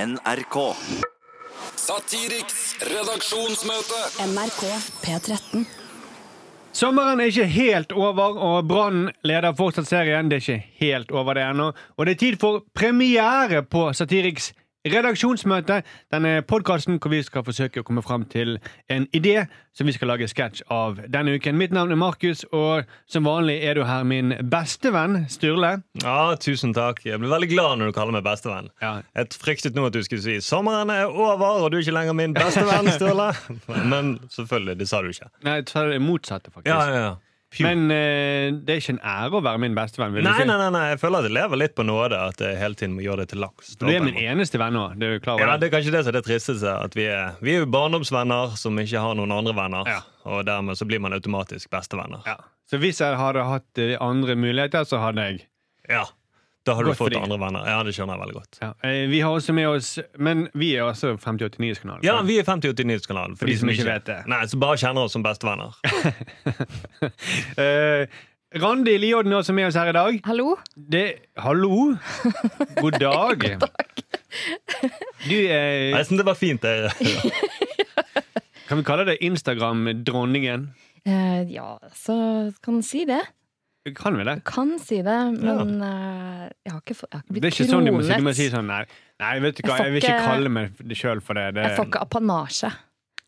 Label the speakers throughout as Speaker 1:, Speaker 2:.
Speaker 1: NRK.
Speaker 2: Satiriks redaksjonsmøte.
Speaker 3: NRK P13.
Speaker 4: Sommeren er ikke helt over, og Brann leder fortsatt serien. Det er ikke helt over det ennå. Og det er tid for premiere på Satiriks redaksjonsmøte. Denne podkasten hvor vi skal forsøke å komme fram til en idé som vi skal lage sketsj av denne uken. Mitt navn er Markus, og som vanlig er du her min bestevenn Sturle.
Speaker 5: Ja, tusen takk. Jeg ble veldig glad når du kaller meg bestevenn.
Speaker 4: Ja.
Speaker 5: Jeg fryktet nå at du skulle si 'sommeren er over, og du er ikke lenger min bestevenn', Sturle. Men selvfølgelig, det sa du ikke.
Speaker 4: Nei, jeg tar det motsatte, faktisk.
Speaker 5: Pju.
Speaker 4: Men eh, det er ikke en ære å være min bestevenn. vil
Speaker 5: Nei,
Speaker 4: du si?
Speaker 5: nei, nei, nei, jeg føler at jeg lever litt på nåde, at jeg hele tiden må gjøre det til laks.
Speaker 4: Du er min eneste venn nå. Det er du klar over
Speaker 5: Ja,
Speaker 4: det?
Speaker 5: Det er kanskje det som er det tristeste. At vi er, vi er jo barndomsvenner som ikke har noen andre venner.
Speaker 4: Ja.
Speaker 5: Og dermed så blir man automatisk bestevenner.
Speaker 4: Ja. Så hvis jeg hadde hatt eh, andre muligheter, så hadde jeg
Speaker 5: Ja. Da har du
Speaker 4: Godt for
Speaker 5: fått
Speaker 4: de.
Speaker 5: andre venner. Ja, det skjønner jeg veldig godt.
Speaker 4: ja. eh, Vi har også med oss Men vi er altså også 5080 Nyhetskanalen.
Speaker 5: Ja, vi er 5080 Nyhetskanalen. For,
Speaker 4: de som ikke vet det.
Speaker 5: Nei, Som bare kjenner oss som bestevenner.
Speaker 4: Eh, Randi Liodden er også med oss her i dag.
Speaker 6: Hallo?
Speaker 4: Det, hallo. God dag. God dag. Du
Speaker 5: Nei,
Speaker 4: er
Speaker 5: Jeg synes det var fint. Det.
Speaker 4: Kan vi kalle det Instagram-dronningen?
Speaker 6: Eh, ja, så kan si det.
Speaker 4: Kan vi det?
Speaker 6: Kan si det, men eh, jeg, har ikke, fått- jeg har ikke blitt
Speaker 4: Det er ikke sånn du må si. Du må
Speaker 6: kronet.
Speaker 4: si sånn nei. Nei, vet du hva,
Speaker 6: Jeg får
Speaker 4: jeg vil ikke
Speaker 6: ikke-
Speaker 4: kalle meg det sjøl for det. det.
Speaker 6: Jeg får ikke apanasje.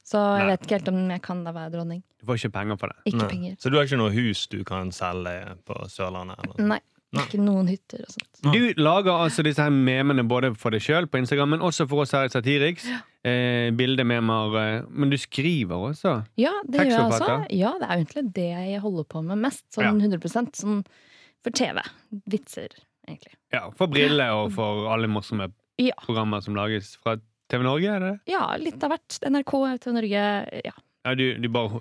Speaker 6: Så jeg
Speaker 4: eh, Nei.
Speaker 6: vet ikke helt om jeg kan da være dronning.
Speaker 4: Du får ikke penger for det.
Speaker 6: Ikke
Speaker 5: Nei.
Speaker 6: penger.
Speaker 5: Så du har ikke noe hus du kan selge på Sørlandet? Eller?
Speaker 6: Nei. Ikke noen hytter og sånt.
Speaker 4: Du lager altså disse her memene både for deg sjøl på Instagram, men også for oss her i Satiriks. Eh, bildememer. Eh, men du skriver også.
Speaker 6: Ja, det gjør jeg også.
Speaker 4: Tekstforfatter?
Speaker 6: Ja, det er jo egentlig det jeg holder på med mest.
Speaker 4: Ja.
Speaker 6: Sånn 100 sånn for TV. Vitser, egentlig.
Speaker 4: Ja, For briller og for alle morsomme
Speaker 6: Ja.
Speaker 4: programmer som lages fra TV Norge, er det det?
Speaker 6: Ja, litt av hvert. NRK, TV Norge. Ja.
Speaker 4: Ja, du, du bare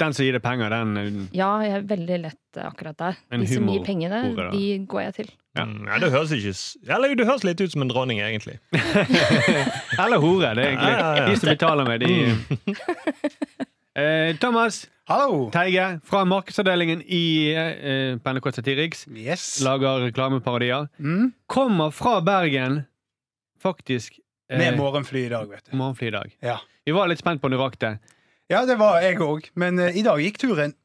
Speaker 4: Den som gir deg penger, den eh,
Speaker 6: ja, jeg er veldig lett eh, akkurat der.
Speaker 4: En
Speaker 6: De som
Speaker 4: humorhore,
Speaker 6: gir pengene,
Speaker 4: da.
Speaker 6: de går jeg til.
Speaker 4: Ja.
Speaker 5: Mm, Ja, det høres ikke s- Eller jo, det høres litt ut som en dronning, egentlig.
Speaker 4: Eller hore, det er egentlig
Speaker 5: Ja, ja, ja.
Speaker 4: de som betaler meg, de
Speaker 7: Mm.
Speaker 4: eh, Thomas
Speaker 7: Hallo!
Speaker 4: Teige fra markedsavdelingen i eh, på NRK Satiriks.
Speaker 7: Yes.
Speaker 4: Lager reklameparodier.
Speaker 7: Mm.
Speaker 4: Kommer fra Bergen, faktisk. eh,
Speaker 7: Med morgenfly i dag, vet du.
Speaker 4: morgenfly i dag.
Speaker 7: Ja,
Speaker 4: Vi var litt spent på om du rakk det.
Speaker 7: ja det var jeg òg. Men eh, i dag gikk turen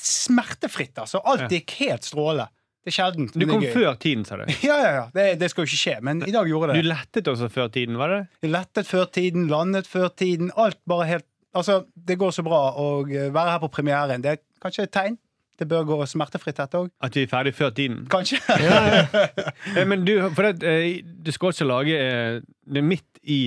Speaker 7: smertefritt, altså.
Speaker 4: Ja.
Speaker 7: Alt gikk helt strålende. Det er sjeldent.
Speaker 4: Du
Speaker 7: men
Speaker 4: kom
Speaker 7: det er gøy.
Speaker 4: før tiden, sa du.
Speaker 7: Ja, ja, ja. Det, det skal jo ikke skje, men i dag gjorde
Speaker 4: Du
Speaker 7: det.
Speaker 4: lettet også før tiden, var det?
Speaker 7: det. Lettet før tiden, landet før tiden. Alt bare helt Altså, det går så bra å eh, være her på premieren. Det er kanskje et tegn. Det bør gå smertefritt, dette òg.
Speaker 4: At vi er ferdig før tiden.
Speaker 7: Kanskje.
Speaker 4: Eh, Men du, for det, eh, du skal også lage eh, det er midt i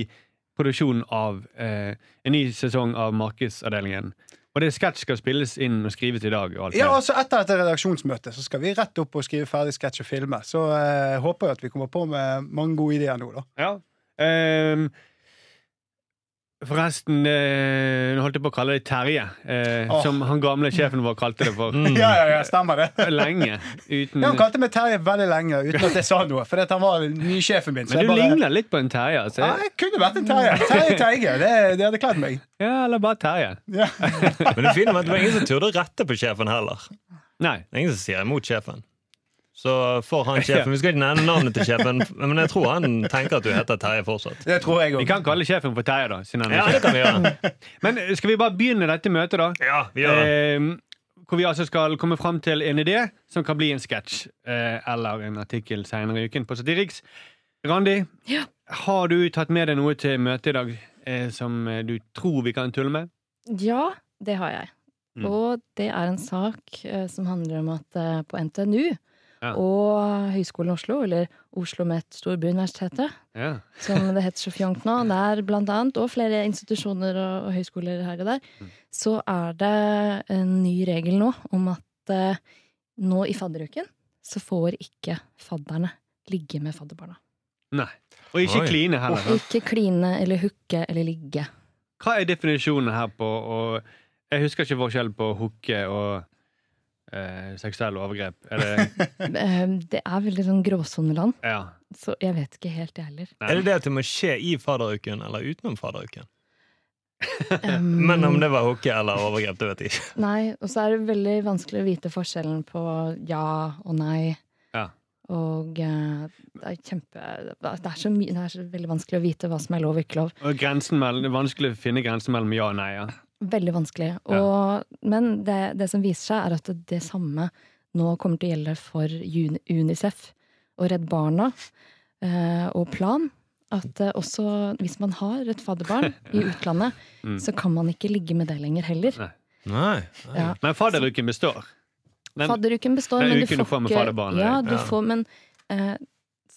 Speaker 4: produksjonen av eh, en ny sesong av Markedsavdelingen. Og det sketsj skal spilles inn og skrives i dag. Og alt
Speaker 7: Ja,
Speaker 4: det.
Speaker 7: altså Etter dette redaksjonsmøtet så skal vi rett opp og skrive ferdig sketsj og filme. Så eh, håper jeg at vi kommer på med mange gode ideer nå, da.
Speaker 4: Ja. Ehm, forresten, eh, nå holdt jeg på å kalle deg Terje, eh,
Speaker 7: Åh.
Speaker 4: som han gamle sjefen vår kalte det for
Speaker 7: Ja, ja, ja, stemmer
Speaker 4: Mm.
Speaker 7: det.
Speaker 4: lenge. Uten,
Speaker 7: Ja, han kalte meg Terje veldig lenge uten at jeg sa noe. Fordi at han var nysjefen min. Så
Speaker 4: men
Speaker 7: jeg
Speaker 4: du
Speaker 7: bare,
Speaker 4: ligner litt på en Terje. Altså.
Speaker 7: Ja, jeg kunne vært en Terje. Terje Teige. Det, det hadde kledd meg.
Speaker 4: Ja, eller bare Terje.
Speaker 7: Ja.
Speaker 5: Men det fine var at det var ingen som turde å rette på sjefen heller.
Speaker 4: Nei.
Speaker 5: Det er Ingen som sier imot sjefen. Så får han sjefen Vi skal ikke nevne navnet til sjefen, men jeg tror han tenker at du heter Terje fortsatt.
Speaker 7: Det tror jeg
Speaker 4: Vi
Speaker 7: òg.
Speaker 4: kan kalle sjefen for Terje, da. Siden han
Speaker 5: Ja,
Speaker 4: er
Speaker 5: det
Speaker 4: sjef.
Speaker 5: kan vi gjøre.
Speaker 4: Men skal vi bare begynne dette møtet, da?
Speaker 5: Ja, vi gjør det.
Speaker 4: Ehm, hvor vi altså skal komme fram til en idé som kan bli en sketsj eh, eller en artikkel senere i uken på Satiriks. Randi,
Speaker 6: Ja.
Speaker 4: har du tatt med deg noe til møtet i dag eh, som eh, du tror vi kan tulle med?
Speaker 6: Ja, det har jeg.
Speaker 4: Mm.
Speaker 6: Og det er en sak eh, som handler om at eh, på NTNU
Speaker 4: Ja.
Speaker 6: og Høgskolen i Oslo, eller Oslo Met Storbyuniversitetet,
Speaker 4: Ja.
Speaker 6: som det heter så fjongt nå, der blant annet, og flere institusjoner og, og høyskoler her og der,
Speaker 4: Mm.
Speaker 6: så er det en ny regel nå om at eh, nå i fadderuken så får ikke fadderne ligge med fadderbarna.
Speaker 4: Nei. Og ikke
Speaker 5: Oi.
Speaker 4: kline heller. da.
Speaker 6: Ikke kline eller hooke eller ligge.
Speaker 4: Hva er definisjonen her på og Jeg husker ikke forskjell på hooke og eh, seksuelle overgrep. Er det,
Speaker 6: Eh, Det er veldig sånn gråsoneland,
Speaker 4: ja.
Speaker 6: så jeg vet ikke helt, jeg heller.
Speaker 5: Er det det at det må skje i fadderuken eller utenom fadderuken?
Speaker 6: Um,
Speaker 5: Eh, Men om det var hooke eller overgrep, det vet jeg ikke.
Speaker 6: Nei, og så er det veldig vanskelig å vite forskjellen på ja og nei.
Speaker 4: Ja.
Speaker 6: Og eh, det er kjempe Det er så mye Det er så veldig vanskelig å vite hva som er lov og ikke lov.
Speaker 4: Og grensen mellom, det er vanskelig å finne grensen mellom ja og nei. Ja.
Speaker 6: Veldig vanskelig. Og, Men det, det som viser seg, er at det samme nå kommer til å gjelde for Uni- Unicef og Redd Barna eh, og Plan. At eh, også hvis man har et fadderbarn i utlandet, så kan man ikke ligge med det lenger heller.
Speaker 4: Nei.
Speaker 5: Nei.
Speaker 6: Ja.
Speaker 4: Men fadderuken består. Den,
Speaker 6: Fadderuken består,
Speaker 4: den
Speaker 6: men du
Speaker 4: uken
Speaker 6: får
Speaker 4: du får med
Speaker 6: ikke
Speaker 4: fadderbarnet,
Speaker 6: Ja, du
Speaker 5: ja.
Speaker 6: får, men eh,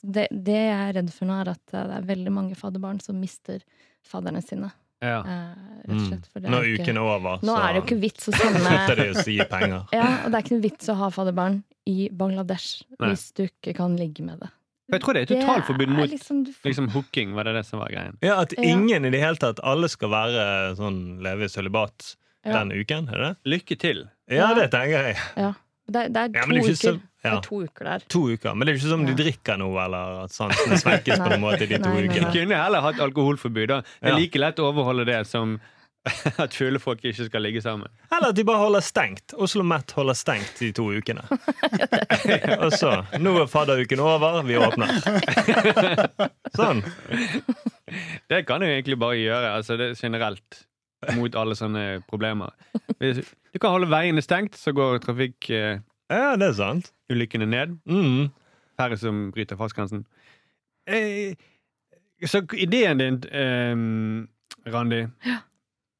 Speaker 6: det, det jeg er redd for nå, er at eh, det er veldig mange fadderbarn som mister fadderne sine.
Speaker 4: ja.
Speaker 6: Eh, rett og slett. For det
Speaker 5: Når
Speaker 6: er
Speaker 5: uken
Speaker 6: ikke,
Speaker 5: Mm. er over,
Speaker 6: nå er det jo ikke vits å sende
Speaker 5: slutter de å si penger.
Speaker 6: Ja, og det er ikke noe vits å ha fadderbarn i Bangladesh
Speaker 4: Nei.
Speaker 6: hvis du ikke kan ligge med det.
Speaker 4: Jeg tror det er totalforbud mot
Speaker 6: liksom, du får,
Speaker 4: liksom, hooking, var det det som var greien.
Speaker 5: Ja, At
Speaker 6: Ja.
Speaker 5: ingen i det hele tatt, alle skal være sånn leve i sølibat
Speaker 6: Ja.
Speaker 5: den uken, er det?
Speaker 6: Ja.
Speaker 5: Ja, det tenker jeg.
Speaker 6: ja.
Speaker 4: liksom-
Speaker 6: Det, er- det, er
Speaker 5: Ja,
Speaker 6: to
Speaker 5: men det er
Speaker 6: uker,
Speaker 5: ikke så-
Speaker 6: det
Speaker 5: ja.
Speaker 6: er to uker der.
Speaker 5: To uker. Men det er jo ikke som
Speaker 6: Ja.
Speaker 5: de drikker noe, eller at sansene svekkes på
Speaker 6: Nei.
Speaker 5: en måte i de to
Speaker 6: Nei, nei,
Speaker 4: Vi
Speaker 6: Ja.
Speaker 5: ukene.
Speaker 6: nei.
Speaker 4: kunne heller hatt alkoholforbud. da Det
Speaker 5: Ja.
Speaker 4: er like lett å overholde det som at fulle folk ikke skal ligge sammen.
Speaker 5: Eller at de bare holder stengt. Oslo Met holder stengt de to ukene. Og så Nå er fadderuken over, vi åpner. Sånn.
Speaker 4: Det kan du egentlig bare gjøre altså det er generelt mot alle sånne problemer. Hvis du kan holde veiene stengt, så går trafikkulykkene
Speaker 5: Ja, det er sant.
Speaker 4: ned.
Speaker 5: Mm.
Speaker 4: Færre som bryter fartsgrensen. Eh, så ideen din, eh, Randi,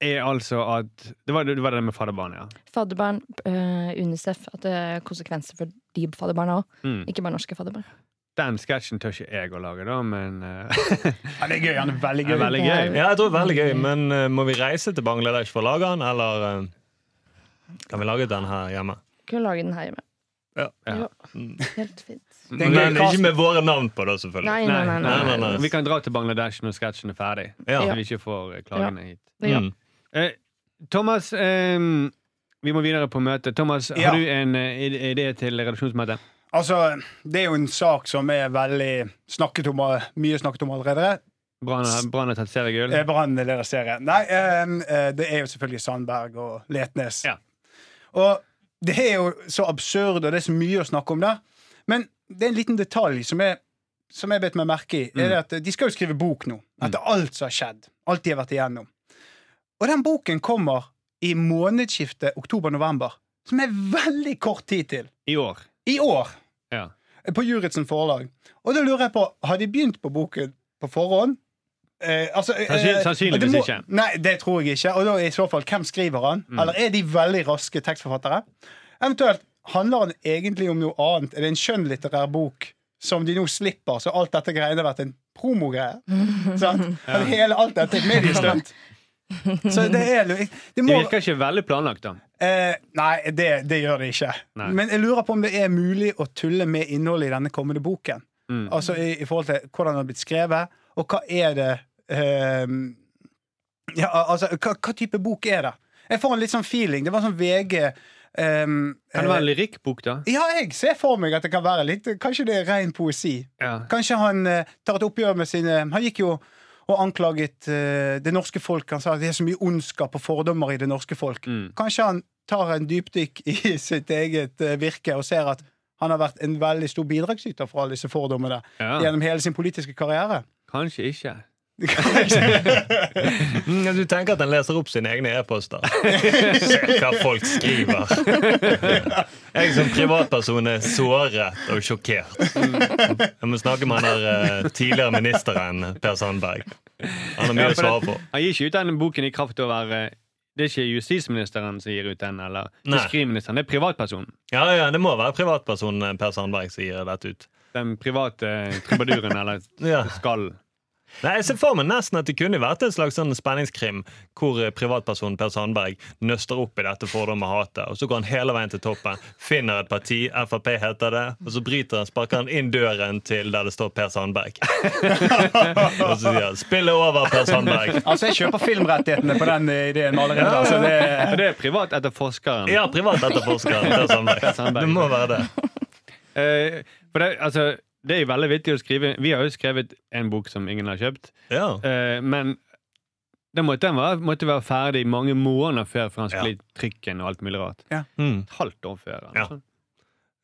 Speaker 4: er altså at Det var det, var det med fadderbarnet, ja.
Speaker 6: Fadderbarn, eh, Unicef, at det er konsekvenser for de fadderbarna òg.
Speaker 4: Mm.
Speaker 6: Ikke bare norske fadderbarn.
Speaker 4: Den sketsjen tør ikke jeg å lage, da, men eh,
Speaker 7: Ja, det er gøy. Han er veldig
Speaker 4: det
Speaker 7: gøy.
Speaker 4: er veldig gøy.
Speaker 5: Ja, jeg tror det er veldig gøy,
Speaker 6: Mm.
Speaker 5: men eh, må vi reise til Bangladesh for å lage den, eller eh, kan vi lage den her hjemme?
Speaker 6: Kunne lage den her hjemme.
Speaker 5: Ja.
Speaker 4: Ja.
Speaker 6: Helt fint.
Speaker 7: er en
Speaker 5: Men
Speaker 7: gøy
Speaker 5: ikke med våre navn på, da, selvfølgelig.
Speaker 6: Nei, nei, nei. nei,
Speaker 5: Nei, nei, nei.
Speaker 4: Vi kan dra til Bangladesh når sketsjen er ferdig.
Speaker 5: Ja.
Speaker 4: Så vi ikke får eh, klagene hit.
Speaker 6: Ja.
Speaker 5: Mm.
Speaker 4: Eh, Thomas, eh, vi må videre på møtet. Thomas,
Speaker 7: Ja.
Speaker 4: har du en eh, id- idé til redaksjonsmøtet?
Speaker 7: Altså, det er jo en sak som er veldig snakket om, eh, mye snakket om allerede.
Speaker 4: Brann har- Brann har tatt seriegull.
Speaker 7: Eh, Brann i deres serie. Nei, ehm, eh, det er jo selvfølgelig Sandberg og Letnes.
Speaker 4: Ja.
Speaker 7: Og det er jo så absurd, og det er så mye å snakke om der. Men det er en liten detalj som jeg, som jeg bet meg merke i. Er det at eh, De skal jo skrive bok nå, etter alt som har skjedd. Alt de har vært igjennom. Og den boken kommer i månedsskiftet oktober-november, som er veldig kort tid til.
Speaker 4: I år.
Speaker 7: I år.
Speaker 4: Ja.
Speaker 7: På Juritzen forlag. Og da lurer jeg på, har de begynt på boken på forhånd? Eh, altså, eh,
Speaker 4: Sannsyn- sannsynligvis
Speaker 7: det
Speaker 4: ikke. Mm.
Speaker 7: Nei, det tror jeg ikke. Og da i så fall, hvem skriver han? Eller er de veldig raske tekstforfattere? Eventuelt, handler han egentlig om noe annet? Er det en skjønnlitterær bok som de nå slipper, så alt dette greiene har vært en promogreie? Sant? At Hele alt dette er et mediestunt. Så det er det
Speaker 4: Det
Speaker 7: må,
Speaker 4: virker ikke veldig planlagt, da.
Speaker 7: Eh, nei, det, det gjør det ikke.
Speaker 4: Nei.
Speaker 7: Men jeg lurer på om det er mulig å tulle med innholdet i denne kommende boken.
Speaker 4: Mm.
Speaker 7: Altså i, i forhold til hvordan den har blitt skrevet, og hva er det eh, Ja, altså, hva, hva type bok er det? Jeg får en litt sånn feeling. Det var sånn VG eh,
Speaker 4: Kan det være en
Speaker 7: eh,
Speaker 4: lyrikkbok, da?
Speaker 7: Ja, jeg ser for meg at det kan være litt Kanskje det er ren poesi.
Speaker 4: Ja.
Speaker 7: Kanskje han eh, tar et oppgjør med sine Han gikk jo og anklaget eh, det norske folk. Han sa at det er så mye ondskap og fordommer i det norske folk.
Speaker 4: Mm.
Speaker 7: Kanskje han tar en dypdykk i sitt eget eh, virke og ser at han har vært en veldig stor bidragsyter for alle disse fordommene
Speaker 4: ja.
Speaker 7: gjennom hele sin politiske karriere.
Speaker 4: Kanskje ikke.
Speaker 5: Mm, Du tenker at den leser opp sine egne e-poster. Se hva folk skriver. Jeg som privatperson er såret og sjokkert. Jeg må snakke med han der eh, tidligere ministeren Per Sandberg. Han har mye
Speaker 4: Ja,
Speaker 5: å
Speaker 4: for det-
Speaker 5: svare på.
Speaker 4: Han gir ikke ut den boken i kraft av å være Det er ikke justisministeren som gir ut den, eller
Speaker 5: Nei.
Speaker 4: fiskeriministeren. Det er privatpersonen.
Speaker 5: Ja, ja, Det må være privatpersonen eh, Per Sandberg som gir dette ut.
Speaker 4: Den private trubaduren, eller
Speaker 5: Ja.
Speaker 4: skal.
Speaker 5: Nei, Jeg ser for meg nesten at det kunne vært en slags sånn spenningskrim hvor eh, privatpersonen Per Sandberg nøster opp i dette fordommet og hatet, og så går han hele veien til toppen, finner et parti, Frp heter det, og så bryter han, sparker han inn døren til der det står Per Sandberg. og så sier han 'spille over, Per Sandberg'.
Speaker 7: Altså, jeg kjøper filmrettighetene på den eh, ideen allerede. Altså, det,
Speaker 4: Og det er privat etter forskeren.
Speaker 5: Ja, privat etterforsker Per Sandberg.
Speaker 4: Sandberg.
Speaker 5: Det må være det.
Speaker 4: Eh, for det, altså, det er jo veldig vittig å skrive. Vi har jo skrevet en bok som ingen har kjøpt,
Speaker 5: Ja.
Speaker 4: eh, men den måtte, den være, måtte være ferdig mange måneder før, for han skulle i trykken og alt mulig rart.
Speaker 5: Mm.
Speaker 4: Et halvt år før.
Speaker 5: Ja.
Speaker 4: Altså.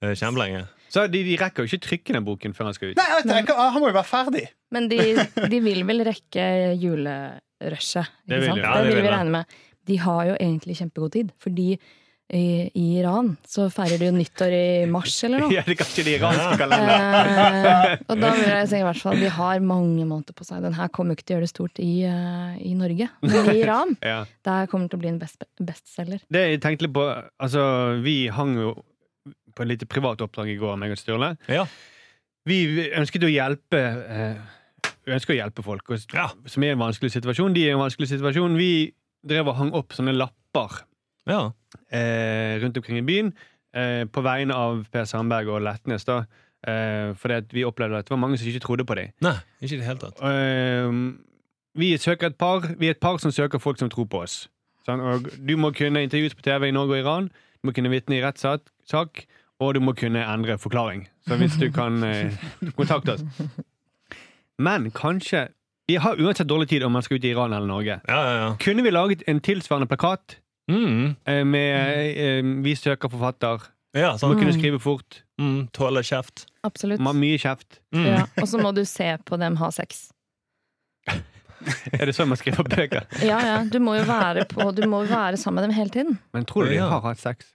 Speaker 5: Eh, Kjempelenge.
Speaker 4: Så de, de rekker jo ikke trykke den boken før han skal ut.
Speaker 7: Nei, jeg tenker, ah, han må jo være ferdig.
Speaker 6: Men de, de vil vel rekke julerushet.
Speaker 4: Det
Speaker 6: Ikke
Speaker 4: vil
Speaker 6: sant?
Speaker 4: de.
Speaker 5: Ja, det
Speaker 6: det vil
Speaker 5: vil
Speaker 6: vi
Speaker 5: de.
Speaker 6: regne med. De har jo egentlig kjempegod tid, fordi i, i Iran så feirer de jo nyttår i mars eller noe.
Speaker 4: Ja, det kan ikke de iranske kalenderen.
Speaker 6: Eh, og da vil jeg si i hvert fall de har mange måneder på seg. Den her kommer jo ikke til å gjøre det stort i, eh, i Norge, men i Iran
Speaker 4: Ja.
Speaker 6: der kommer den til å bli en best, bestselger.
Speaker 4: Det jeg tenkte litt på Altså, vi hang jo på et lite privat oppdrag i går, meg og Sturle.
Speaker 5: Ja.
Speaker 4: Vi ønsket å hjelpe eh, Vi ønsker å hjelpe folk og,
Speaker 5: Ja.
Speaker 4: som er i en vanskelig situasjon. De er i en vanskelig situasjon. Vi drev og hang opp sånne lapper
Speaker 5: ja.
Speaker 4: eh, rundt omkring i byen eh, på vegne av Per Sandberg og Letnes. da eh, Fordi at vi opplevde at det var mange som ikke trodde på dem.
Speaker 5: Nei, ikke i det hele tatt.
Speaker 4: Ehm, vi, søker et par, vi er et par som søker folk som tror på oss. Sånn, og du må kunne intervjues på TV i Norge og Iran, du må kunne vitne i rettssak, sak, og du må kunne endre forklaring. Så hvis du kan eh, kontakte oss. Men kanskje De har uansett dårlig tid om man skal ut i Iran eller Norge.
Speaker 5: Ja, ja, ja.
Speaker 4: Kunne vi laget en tilsvarende plakat
Speaker 5: Mm.
Speaker 4: eh, med eh, 'Vi søker forfatter'?
Speaker 5: Ja,
Speaker 4: Må
Speaker 5: sånn.
Speaker 4: kunne skrive fort.
Speaker 5: Mm, tåler kjeft.
Speaker 6: Absolutt.
Speaker 4: Man har mye kjeft.
Speaker 5: Mm.
Speaker 6: Ja. Og så må du se på dem ha sex.
Speaker 4: Er det sånn man skriver bøker?
Speaker 6: Ja, ja. Du må jo være, på, du må jo være sammen med dem hele tiden.
Speaker 4: Men tror du de har hatt sex?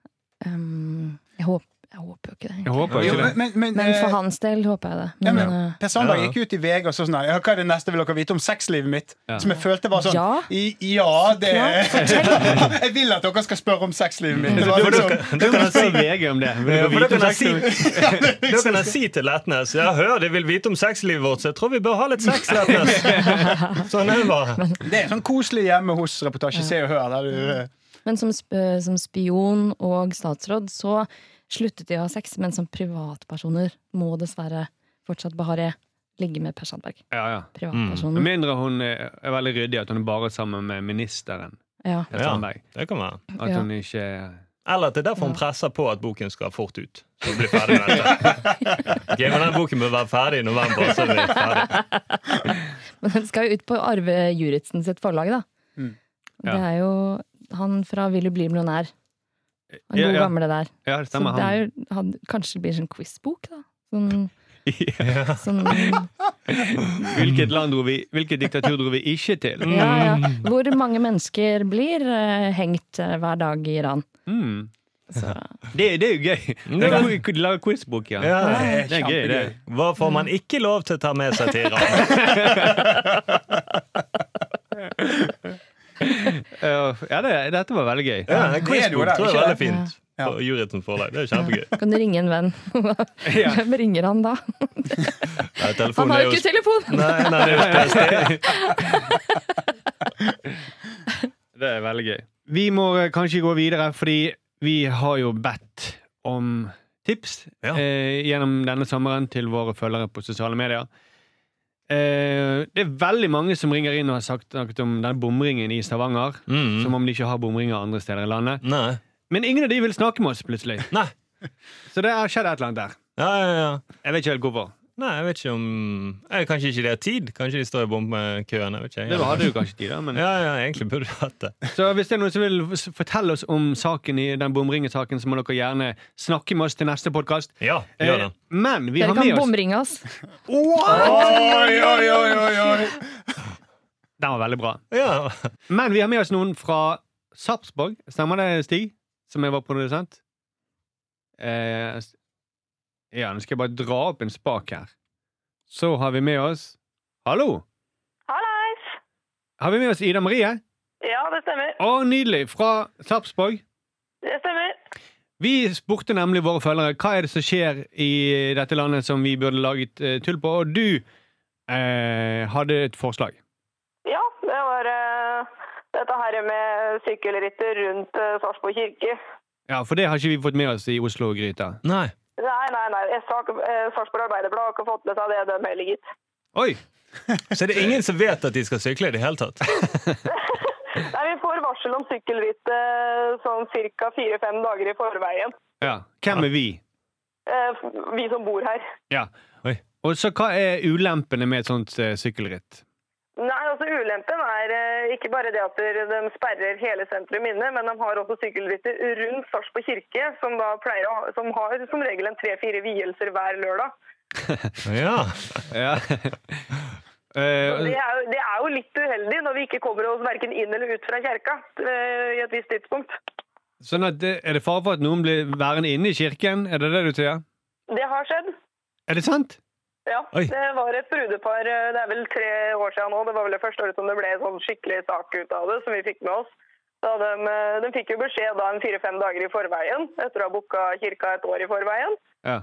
Speaker 6: Ehm, jeg, håper, jeg håper jo ikke det.
Speaker 4: Jeg
Speaker 6: egentlig.
Speaker 4: håper
Speaker 7: Jo,
Speaker 4: ikke det.
Speaker 7: men, men, men,
Speaker 6: Men for
Speaker 7: eh,
Speaker 6: hans del håper jeg det.
Speaker 7: ja,
Speaker 6: Men,
Speaker 7: men,
Speaker 6: eh,
Speaker 7: Per Sandberg
Speaker 5: Ja, ja.
Speaker 7: gikk ut i VG og så sånn her, ja, Hva er det neste vil dere vite om sexlivet mitt?
Speaker 4: Ja.
Speaker 7: Som jeg følte var sånn
Speaker 6: Ja.
Speaker 7: I, ja det Jeg vil at dere skal spørre om sexlivet mitt. Det var
Speaker 4: For
Speaker 7: liksom-
Speaker 4: da- Da kan jeg si VG om det. Vil
Speaker 5: Ja,
Speaker 4: du
Speaker 5: for da
Speaker 4: vite om
Speaker 5: kan jeg
Speaker 4: sex?
Speaker 5: si, da kan jeg si til Letnes Ja, hør, de vil vite om sexlivet vårt, så jeg tror vi bør ha litt sex, Letnes. Sånn er det bare.
Speaker 7: Det er sånn koselig hjemme hos reportasje Se og Hør. Der du, eh,
Speaker 6: men som, sp eh, som spion og statsråd så sluttet de å ha sex, men som privatpersoner må dessverre fortsatt Bahareh ligge med Per Sandberg.
Speaker 4: Ja, ja. Med
Speaker 6: Privatpersonen.
Speaker 4: mindre hun er er veldig ryddig, at hun er bare sammen med ministeren.
Speaker 6: Ja.
Speaker 4: Per
Speaker 5: Ja,
Speaker 4: Sandberg.
Speaker 5: det kan være.
Speaker 4: At
Speaker 6: Ja.
Speaker 4: hun ikke
Speaker 5: Eller at det er derfor hun presser på at boken skal fort ut. Så vi blir ferdig med dette. Ok, men den boken bør være ferdig i november. Så blir vi ferdig.
Speaker 6: Men den skal jo ut på Arve Juritzen sitt forlag, da.
Speaker 4: Ja.
Speaker 6: Det er jo han fra Vil du bli millionær. Han
Speaker 4: Ja,
Speaker 6: gode
Speaker 4: ja.
Speaker 6: gamle der.
Speaker 4: Ja, det
Speaker 6: Så
Speaker 4: stemmer.
Speaker 6: det er
Speaker 4: Han.
Speaker 6: jo, han, kanskje det blir en sånn quizbok, da. Sånn, sånn
Speaker 4: Hvilket land dro vi Hvilket diktatur dro vi ikke til?
Speaker 6: ja, ja.
Speaker 4: Mm.
Speaker 6: Hvor mange mennesker blir eh, hengt eh, hver dag i Iran?
Speaker 4: Mm.
Speaker 6: Så,
Speaker 4: Det, det er jo gøy! Det er en god- Lag quizbok igjen.
Speaker 5: Ja.
Speaker 4: Det er gøy, det.
Speaker 5: Hva får man ikke lov til å ta med seg til Iran?
Speaker 4: Ja, Ja, det, dette var veldig gøy.
Speaker 5: Ja, en
Speaker 7: Det er det jo
Speaker 5: quizbok
Speaker 7: da,
Speaker 5: tror jeg er
Speaker 7: ikke
Speaker 5: veldig fint.
Speaker 7: Ja.
Speaker 5: På Juritzen forlag. Det er kjempegøy.
Speaker 6: eh, kan du ringe en venn?
Speaker 4: Ja.
Speaker 6: Hvem ringer han da?
Speaker 5: Nei,
Speaker 6: Han
Speaker 5: telefonen
Speaker 6: har
Speaker 5: er
Speaker 6: jo
Speaker 5: jo
Speaker 6: ikke telefon!
Speaker 5: Nei, nei, det er jo PST.
Speaker 4: Det er veldig gøy. Vi må eh, kanskje gå videre, fordi vi har jo bedt om tips
Speaker 5: Ja.
Speaker 4: eh, gjennom denne sommeren til våre følgere på sosiale medier. Eh, det er veldig mange som ringer inn og har sagt snakket om denne bomringen i Stavanger.
Speaker 5: Mm.
Speaker 4: Som om de ikke har bomringer andre steder i landet.
Speaker 5: Nei.
Speaker 4: Men ingen av de vil snakke med oss, plutselig.
Speaker 5: Nei.
Speaker 4: Så det har skjedd et eller annet der.
Speaker 5: Ja, ja, ja.
Speaker 4: Jeg vet ikke helt hvorfor.
Speaker 5: Nei, jeg vet ikke om eh, Kanskje ikke de har tid? Kanskje de står i bombekøen? Jeg vet ikke.
Speaker 4: Det hadde jo kanskje de, da. Men...
Speaker 5: Ja, ja, egentlig burde du hatt det.
Speaker 4: Så hvis det er noen som vil s- fortelle oss om saken i den bomringesaken, så må dere gjerne snakke med oss til neste podkast.
Speaker 5: Ja, gjør det.
Speaker 4: Men vi
Speaker 6: Dere
Speaker 4: har med
Speaker 6: kan
Speaker 4: oss
Speaker 6: bomringe oss.
Speaker 7: Eh, Oi, oi, oi, oi, oi.
Speaker 4: Den var veldig bra.
Speaker 5: Ja.
Speaker 4: Men vi har med oss noen fra Sarpsborg. Stemmer det, Stig? Som er vår produsent? Eh, s- ja, nå skal jeg bare dra opp en spak her. Så har vi med oss Hallo!
Speaker 1: Hallais!
Speaker 4: Har vi med oss Ida Marie?
Speaker 1: Ja, det stemmer.
Speaker 4: Å, nydelig! Fra Sarpsborg.
Speaker 1: Det stemmer.
Speaker 4: Vi spurte nemlig våre følgere hva er det som skjer i dette landet som vi burde laget eh, tull på, og du eh, hadde et forslag.
Speaker 1: Ja, det var eh, dette her med sykkelritter rundt uh, Sarpsborg kirke.
Speaker 4: Ja, for det har ikke vi fått med oss i Oslo-gryta.
Speaker 5: Nei.
Speaker 1: Nei, nei, nei. Jeg sa ikke- eh, Sarpsborg Arbeiderblad har ikke fått med seg det, dem heller, gitt.
Speaker 4: Oi!
Speaker 5: Så er det ingen som vet at de skal sykle i det hele tatt?
Speaker 1: Nei, vi får varsel om sykkelritt eh, sånn ca. fire-fem dager i forveien.
Speaker 4: Ja, Hvem er vi?
Speaker 1: Eh, vi som bor her.
Speaker 4: Ja.
Speaker 5: Oi.
Speaker 4: Og så hva er ulempene med et sånt eh, sykkelritt?
Speaker 1: Nei, altså Ulempen er eh, ikke bare det at der- de sperrer hele sentrum inne, men de har også sykkelritter rundt Sarpsborg kirke, som, da pleier å, ha- som har som regel en tre-fire vielser hver lørdag.
Speaker 5: Ja.
Speaker 4: Ja.
Speaker 1: Og Det
Speaker 4: Eh,
Speaker 1: er, jo, det er jo litt uheldig når vi ikke kommer oss verken inn eller ut fra kjerka eh, i et visst tidspunkt.
Speaker 4: sånn at, det- er det fare for at noen blir værende inne i kirken? Er det det du sier?
Speaker 1: Det har skjedd.
Speaker 4: Er det sant?
Speaker 1: Ja,
Speaker 5: Oi.
Speaker 1: det var et brudepar eh, Det er vel tre år siden nå. Det var vel det første året som det ble en sånn skikkelig sak ut av det, som vi fikk med oss. Da de, eh, de fikk jo beskjed da en fire-fem dager i forveien, etter å ha booka kirka et år i forveien,
Speaker 4: Ja.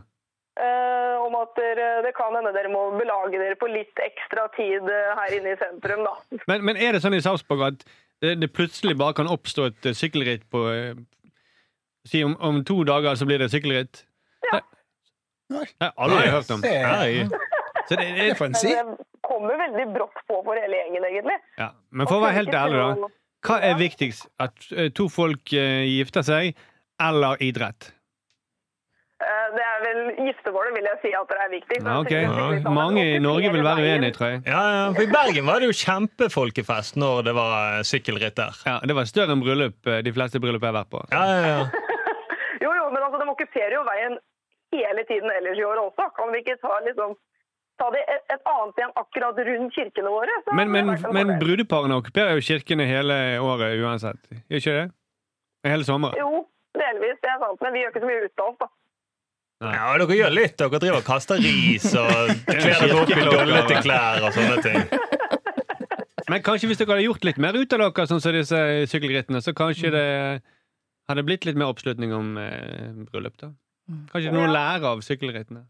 Speaker 1: eh, om at dere, det kan hende dere må belage dere på litt ekstra tid eh, her inne i sentrum, da.
Speaker 4: Men, men er det sånn i Sarpsborg at det, det plutselig bare kan oppstå et eh, sykkelritt på eh, Si om, om to dager så blir det sykkelritt? Ja. Det
Speaker 7: Nei.
Speaker 4: har jeg aldri hørt om.
Speaker 7: Det er
Speaker 5: Hei.
Speaker 4: Så det,
Speaker 7: det
Speaker 4: det,
Speaker 7: får en si.
Speaker 1: Men det kommer veldig brått på for hele gjengen, egentlig.
Speaker 4: ja. Men for å være helt ærlig, da. Hva er viktigst? At eh, to folk eh, gifter seg, eller idrett?
Speaker 1: Eh, Det er vel giftermålet, vil jeg si, at det er viktig.
Speaker 4: Ja, ok.
Speaker 1: Så jeg tenker-
Speaker 4: Mange i Norge vil være uenige, tror jeg.
Speaker 5: Ja, ja, for I Bergen var det jo kjempefolkefest når det var eh, sykkelritt der.
Speaker 4: Ja, Det var større enn bryllup, eh, de fleste bryllup jeg har vært på.
Speaker 5: Ja, ja, ja.
Speaker 1: Jo, jo, men altså, de okkuperer jo veien hele tiden ellers i år også. Kan vi ikke ta, liksom, ta det et, et annet igjen akkurat rundt kirkene våre? Så
Speaker 4: Men,
Speaker 1: hadde det
Speaker 4: men,
Speaker 1: vært en
Speaker 4: men
Speaker 1: fordel.
Speaker 4: brudeparene okkuperer jo kirkene hele året uansett. Gjør ikke det? Hele sommeren.
Speaker 1: Jo, delvis. Det er sant. Men vi gjør ikke så mye ut av oss, da.
Speaker 5: ja, dere gjør litt. Dere driver og kaster ris og kler dere opp i dollete klær og sånne ting.
Speaker 4: Men kanskje hvis dere hadde gjort litt mer ut av dere, sånn som disse sykkelrittene, så kanskje det hadde blitt litt mer oppslutning om eh, bryllup, da. Kanskje noen lærer av sykkelrittene.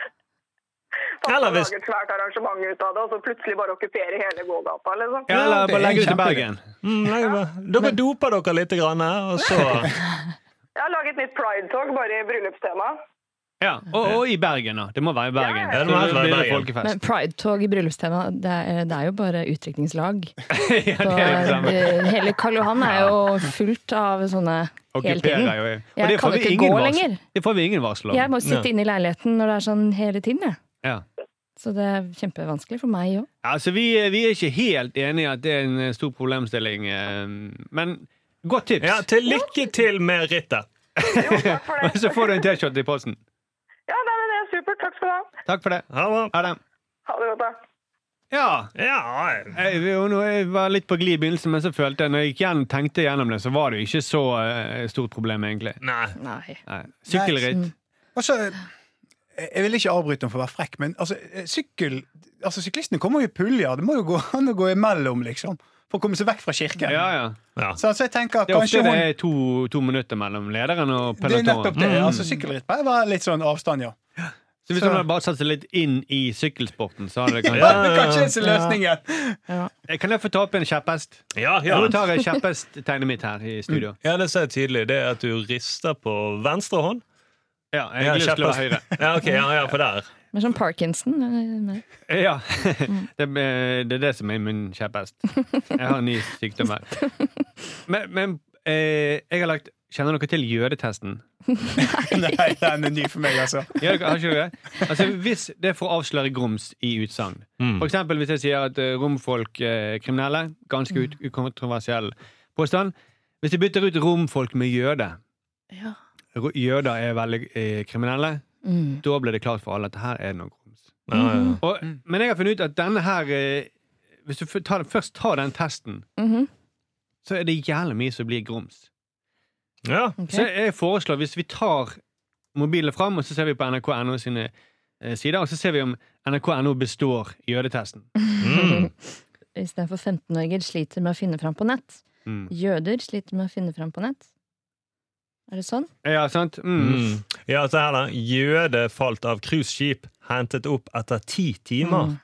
Speaker 1: Fast
Speaker 5: Eller
Speaker 1: man
Speaker 5: hvis-
Speaker 1: lager et svært arrangement ut av det, og så plutselig bare okkuperer hele gågata, liksom.
Speaker 4: Ja, eller
Speaker 7: det er
Speaker 4: bare legge det til
Speaker 7: kjempeidé.
Speaker 4: Bergen.
Speaker 5: Mm, nei, men- dere doper dere litt, grann, eh, og så
Speaker 1: Jeg har laget nytt Pride-tog, bare i bryllupstema.
Speaker 4: Ja, og, og i Bergen, da. Det må være i Bergen.
Speaker 5: Ja, det må
Speaker 4: Så
Speaker 5: helst være i
Speaker 4: blir det
Speaker 5: Bergen.
Speaker 4: folkefest.
Speaker 6: Men Pride-tog i bryllupstema, det er, det er jo bare utdrikningslag.
Speaker 4: ja, det er det samme.
Speaker 6: eh, Hele Karl Johan er jo fullt av sånne hele tiden.
Speaker 4: Okkuperer jo. Og
Speaker 6: Jeg
Speaker 4: det får
Speaker 6: kan
Speaker 4: vi
Speaker 6: ikke
Speaker 4: ingen
Speaker 6: gå
Speaker 4: varsel-
Speaker 6: lenger.
Speaker 4: Det får vi ingen varsel
Speaker 6: Jeg
Speaker 4: om.
Speaker 6: må sitte
Speaker 5: Ja.
Speaker 6: inne i leiligheten når det er sånn hele tiden, jeg.
Speaker 4: Ja.
Speaker 6: Så det er kjempevanskelig for meg òg.
Speaker 4: Altså, vi, vi er ikke helt enige i at det er en eh, stor problemstilling, eh, men godt tips.
Speaker 5: Ja, til lykke til med rittet.
Speaker 1: Jo, takk for
Speaker 4: Og så
Speaker 1: det.
Speaker 4: får du en T-skjorte i posten.
Speaker 1: Ja, nei, men det er supert. Takk skal du ha.
Speaker 4: Takk for det.
Speaker 5: Ha det.
Speaker 4: Ha det.
Speaker 1: Ha det godt, da.
Speaker 4: Ja.
Speaker 5: Ja,
Speaker 4: Jeg, jo, nå- jeg var litt på glid i begynnelsen, men så følte jeg når jeg igjen tenkte gjennom det, så var det jo ikke så eh, stort problem, egentlig.
Speaker 5: nei.
Speaker 6: Nei. sånn.
Speaker 4: Nei. Sykkelritt.
Speaker 7: Og så eh, jeg jeg vil ikke avbryte ham for å være frekk, men altså, sykkel, altså syklistene kommer jo i puljer. Det må jo gå an å gå imellom, liksom. For å komme seg vekk fra kirken.
Speaker 4: Ja, ja.
Speaker 5: Ja.
Speaker 7: Så altså, jeg tenker
Speaker 4: Det er ofte
Speaker 7: kanskje
Speaker 4: det
Speaker 7: hun
Speaker 4: er to, to minutter mellom lederen og
Speaker 7: Det er nettopp
Speaker 4: pelotonen.
Speaker 7: det. altså Sykkelritt pleier å være litt sånn avstand, ja.
Speaker 4: Så hvis man hadde bare satt seg litt inn i sykkelsporten, så hadde det kanskje
Speaker 5: Ja.
Speaker 7: Kanskje det er løsningen.
Speaker 4: Jeg Kan jeg få ta opp en kjepphest?
Speaker 5: Ja,
Speaker 4: Ja.
Speaker 5: ja. Mm.
Speaker 4: Nå tar jeg kjepphesttegnet mitt her i studio.
Speaker 5: ja, det ser jeg tydelig. Det er at du rister på venstre hånd.
Speaker 4: Ja, jeg har lyst til å være høyre.
Speaker 5: Ja, ok, ja, ja, for der.
Speaker 6: Men sånn Parkinson eh, nei.
Speaker 4: Ja, det, er- det er det som er min kjepphest. Jeg har en ny sykdom her. Men, men eh, jeg har lagt Kjenner dere til jødetesten?
Speaker 7: Nei, den er ny for meg, altså.
Speaker 4: Gjør dere, har ikke dere det? Altså, hvis det er for å avsløre grums i utsagn
Speaker 5: Mm.
Speaker 4: For eksempel hvis jeg sier at eh, romfolk er kriminelle, ganske ut ukontroversiell påstand. Hvis jeg bytter ut romfolk med jøde
Speaker 6: Ja.
Speaker 4: ro- Jøder er veldig eh, kriminelle.
Speaker 6: Mm.
Speaker 4: Da ble det klart for alle at her er det noe grums.
Speaker 5: Ja, ja.
Speaker 4: Og, Men jeg har funnet ut at denne her eh, Hvis du f- tar, først tar den testen,
Speaker 6: Mhm.
Speaker 4: så er det jævlig mye som blir grums.
Speaker 5: ja.
Speaker 6: Ok.
Speaker 4: Så jeg foreslår, hvis vi tar mobilen fram, og så ser vi på NRK.no sine eh, sider, og så ser vi om NRK.no består jødetesten.
Speaker 5: Mm.
Speaker 6: Istedenfor 15-åringer sliter med å finne fram på nett.
Speaker 4: Mm.
Speaker 6: Jøder sliter med å finne fram på nett. Er det sånn?
Speaker 4: Ja, sant? Mm.
Speaker 5: Mm. Ja, se her, da. Jøde falt av cruiseskip, hentet opp etter ti timer.
Speaker 4: Mm.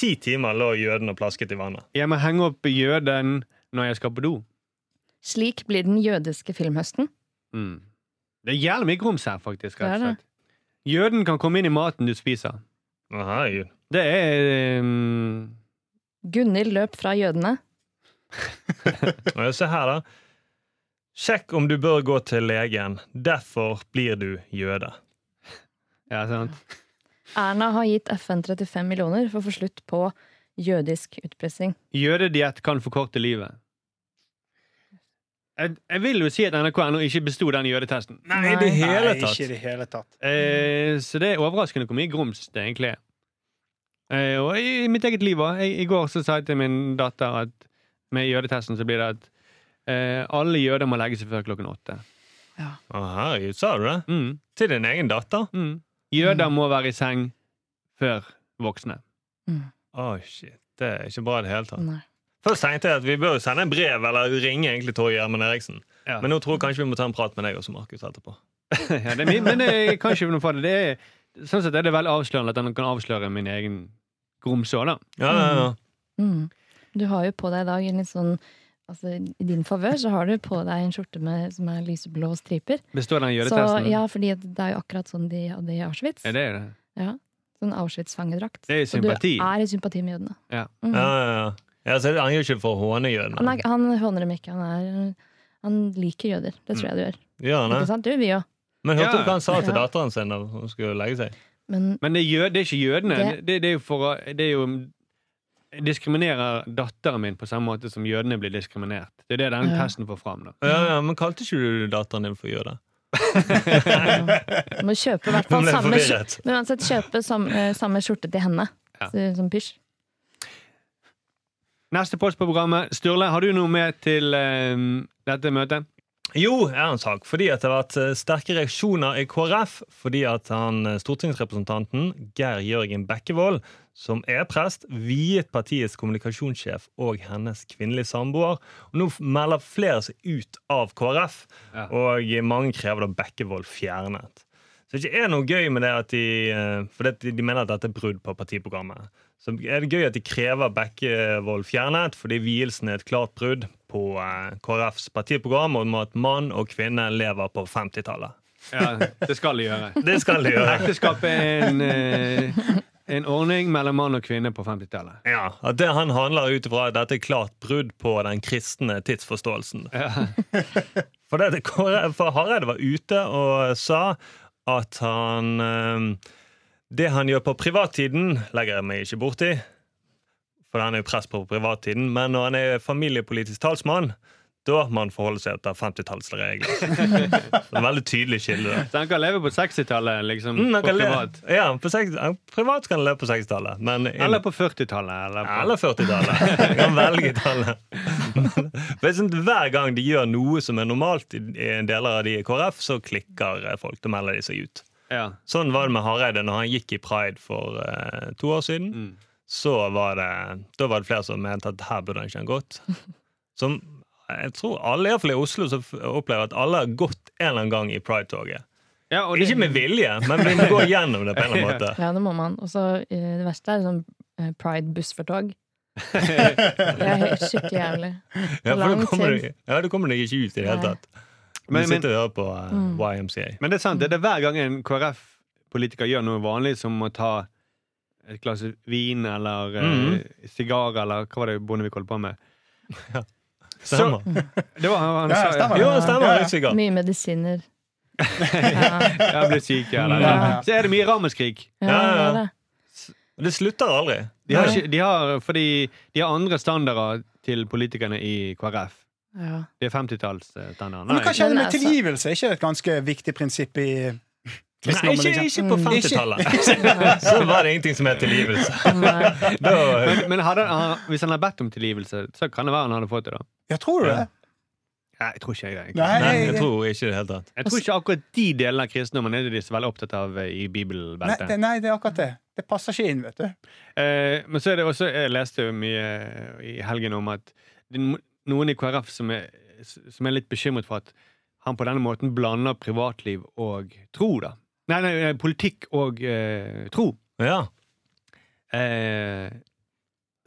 Speaker 5: Ti timer lå jøden og plasket i vannet.
Speaker 4: Jeg må henge opp jøden når jeg skal på do.
Speaker 6: Slik blir den jødiske filmhøsten.
Speaker 4: Mm. Det er jævlig mye grums her, faktisk. Rett og
Speaker 6: Det er det.
Speaker 4: slett. Jøden kan komme inn i maten du spiser.
Speaker 5: Aha, jød.
Speaker 4: Det er mm,
Speaker 6: Gunhild løp fra jødene.
Speaker 5: Og jeg ser her, da. Sjekk om du bør gå til legen. Derfor blir du jøde.
Speaker 4: Ja, sant?
Speaker 6: Erna har gitt FN 35 millioner for å få slutt på jødisk utpressing.
Speaker 4: Jødediett kan forkorte livet. Jeg, jeg vil jo si at NRK ennå ikke besto den jødetesten.
Speaker 6: Nei,
Speaker 5: i det hele
Speaker 7: Nei,
Speaker 5: tatt.
Speaker 7: ikke i det hele tatt.
Speaker 4: Eh,
Speaker 6: Mm.
Speaker 4: så det er overraskende hvor mye grums det egentlig er. Eh, og i mitt eget liv òg. I går så sa jeg til min datter at med jødetesten så blir det at eh, alle jøder må legge seg før klokken åtte.
Speaker 5: Å, herregud, sa du det?
Speaker 4: Mm,
Speaker 5: Til din egen datter?
Speaker 4: mm. Jøder må være i seng før voksne.
Speaker 5: Å, shit. Det er ikke bra i det hele tatt.
Speaker 6: Nei.
Speaker 5: Først tenkte jeg at vi bør jo sende en brev eller ringe egentlig Torje Gjermund Eriksen.
Speaker 4: Ja.
Speaker 5: Men nå tror jeg kanskje vi må ta en prat med deg også, Markus, etterpå.
Speaker 4: ja, det er mye, men jeg kan ikke noe for det. det er, sånn sett er det veldig avslørende at han kan avsløre min egen grums òg, da.
Speaker 5: Ja, ja, ja.
Speaker 6: Mm. Du har jo på deg i dag en litt sånn altså, I din favør så har du på deg en skjorte med, som er lyseblå striper.
Speaker 4: Består den
Speaker 6: Så,
Speaker 4: jødetesten?
Speaker 6: ja, fordi at det er jo akkurat sånn de hadde i Auschwitz.
Speaker 4: Ja, det er det.
Speaker 6: Ja. Sånn Auschwitz-fangedrakt.
Speaker 4: Det er
Speaker 6: Så
Speaker 4: sympati.
Speaker 6: Du er i sympati med jødene.
Speaker 4: Ja.
Speaker 6: Mm.
Speaker 5: ja, ja, ja. ja så Han gjør ikke for å håne
Speaker 6: Han,
Speaker 5: jødene.
Speaker 6: er, han håner dem ikke. Han, er, han liker jøder. Det tror jeg du gjør.
Speaker 5: Gjør Mm. han
Speaker 6: Ikke
Speaker 5: det?
Speaker 6: sant? Du, vi òg.
Speaker 5: Men hørte
Speaker 4: Ja.
Speaker 5: du hva han sa til
Speaker 6: Ja.
Speaker 5: datteren sin da hun skulle legge seg?
Speaker 6: Men
Speaker 4: Men det er, jød, det er ikke jødene. Det,
Speaker 6: Det-
Speaker 4: det, er jo for å det er jo, jeg diskriminerer datteren min på samme måte som jødene blir diskriminert. Det er det denne
Speaker 6: Ja.
Speaker 4: testen får fram. da.
Speaker 5: Ja, ja, Men kalte ikke du datteren din for jøde?
Speaker 6: du må kjøpe i hvert
Speaker 5: Hun
Speaker 6: fall
Speaker 5: ble
Speaker 6: samme skjorte.
Speaker 5: forvirret.
Speaker 6: Men uansett, kjøpe samme, eh, samme skjorte til henne.
Speaker 4: Ja.
Speaker 6: Så- Som pysj.
Speaker 4: Neste post på programmet. Sturle, har du noe med til eh, dette møtet?
Speaker 5: Jo, er en sak. Fordi at det har vært eh, sterke reaksjoner i KrF. Fordi at han eh, stortingsrepresentanten Geir Jørgen Bekkevold, som er prest, viet partiets kommunikasjonssjef og hennes kvinnelige samboer. Og nå f- melder flere seg ut av KrF,
Speaker 4: Ja.
Speaker 5: og mange krever da Bekkevold fjernet. Så det ikke er noe gøy med det at de eh, For det, at de- de mener at dette er brudd på partiprogrammet. Så er det gøy at de krever Bekkevold fjernet, fordi vielsen er et klart brudd på eh, KrFs partiprogram om at mann og kvinne lever på 50-tallet.
Speaker 4: Ja, det skal de gjøre.
Speaker 5: Det skal de gjøre.
Speaker 4: Ekteskap er en, eh, en ordning mellom mann og kvinne på 50-tallet.
Speaker 5: Ja, at det Han handler ut ifra at dette er klart brudd på den kristne tidsforståelsen. For, det, for Hareide var ute og sa at han eh, Det han gjør på privattiden, legger jeg meg ikke borti, for han er jo press på privattiden, men når han er familiepolitisk talsmann, da må han forholde seg etter 50-tallsregler. Så det er en veldig tydelig skille. der.
Speaker 4: Så han kan leve på 60-tallet, liksom.
Speaker 5: Mm, han
Speaker 4: på
Speaker 5: kan le-
Speaker 4: privat.
Speaker 5: Ja, på seks- ja, privat kan han leve på 60-tallet, men inn-
Speaker 4: Eller på 40-tallet. Eller på...
Speaker 5: eller 40-tallet. Jeg kan velge tallet. Men jeg synes hver gang de gjør noe som er normalt i i deler av de i KrF, så klikker eh, folk. Da melder de seg ut.
Speaker 4: Ja.
Speaker 5: Sånn var det med Hareide når han gikk i Pride for eh, to år siden.
Speaker 4: Mm.
Speaker 5: Så var det, da var det flere som mente at her burde han ikke ha gått. Som jeg tror alle, iallfall i Oslo, så f- opplever at alle har gått en eller annen gang i Pride-toget.
Speaker 4: Ja, og det-
Speaker 5: Ikke med vilje, men vi går gjennom det på en eller annen måte.
Speaker 6: Ja, det må man. Og så eh, det verste er sånn eh, pride-buss for tog. Det er helt skikkelig jævlig.
Speaker 5: Ja, for da
Speaker 6: Lang
Speaker 5: kommer
Speaker 6: tid.
Speaker 5: du, ja, du kommer deg ikke ut i det hele
Speaker 6: Nei. Mm.
Speaker 5: tatt. Du
Speaker 4: Men- men-
Speaker 5: sitter og hører på eh, YMCA.
Speaker 4: Men det er sant, det er hver gang en KrF-politiker gjør noe vanlig, som å ta et glass vin eller eh,
Speaker 5: Mm.
Speaker 4: sigar eller hva var det Bondevik holdt på med?
Speaker 5: Stemmer.
Speaker 4: Det var han, han
Speaker 7: Ja,
Speaker 4: sa ja,
Speaker 7: stemmer.
Speaker 5: jo, stemmer.
Speaker 7: Ja, ja.
Speaker 5: Litt sikkert.
Speaker 6: Mye medisiner. Ja,
Speaker 4: jeg ble syk, eller
Speaker 6: Ja.
Speaker 4: Så er det mye ramaskrik.
Speaker 6: ja, det
Speaker 5: Ja,
Speaker 6: er
Speaker 5: ja.
Speaker 6: det.
Speaker 5: Men Det slutter aldri.
Speaker 4: De har, ikke, de har, fordi de har andre standarder til politikerne i KrF.
Speaker 6: Ja.
Speaker 4: Det er 50-tallsstandarden.
Speaker 7: Men du kan
Speaker 6: Men
Speaker 7: kjenne med
Speaker 6: altså-
Speaker 7: tilgivelse. Er ikke det et ganske viktig prinsipp i
Speaker 5: Nei,
Speaker 7: kristendommen?
Speaker 5: ikke, ikke
Speaker 7: liksom?
Speaker 5: på
Speaker 6: Mm.
Speaker 5: 50-tallet. Så var det ingenting som het tilgivelse.
Speaker 6: Nei.
Speaker 5: Da,
Speaker 4: Men, men hadde, han- hvis han hadde bedt om tilgivelse, så kan det være han hadde fått det, da.
Speaker 7: Ja, tror du det?
Speaker 4: Nei, jeg tror ikke jeg det. egentlig.
Speaker 7: Nei,
Speaker 5: nei, jeg tror ikke i det hele tatt.
Speaker 4: Jeg tror ikke akkurat de delene av kristendommen er det de er så veldig opptatt av eh, i
Speaker 7: nei,
Speaker 4: bibelbeltet.
Speaker 7: det, nei, det er akkurat det. Det passer ikke inn, vet du.
Speaker 4: Eh, men så er det også Jeg leste jo mye eh, i helgen om at det er no- noen i KrF som er, som er litt bekymret for at han på denne måten blander privatliv og tro, da. Nei, nei, nei politikk og eh, tro.
Speaker 5: Ja.
Speaker 4: Eh,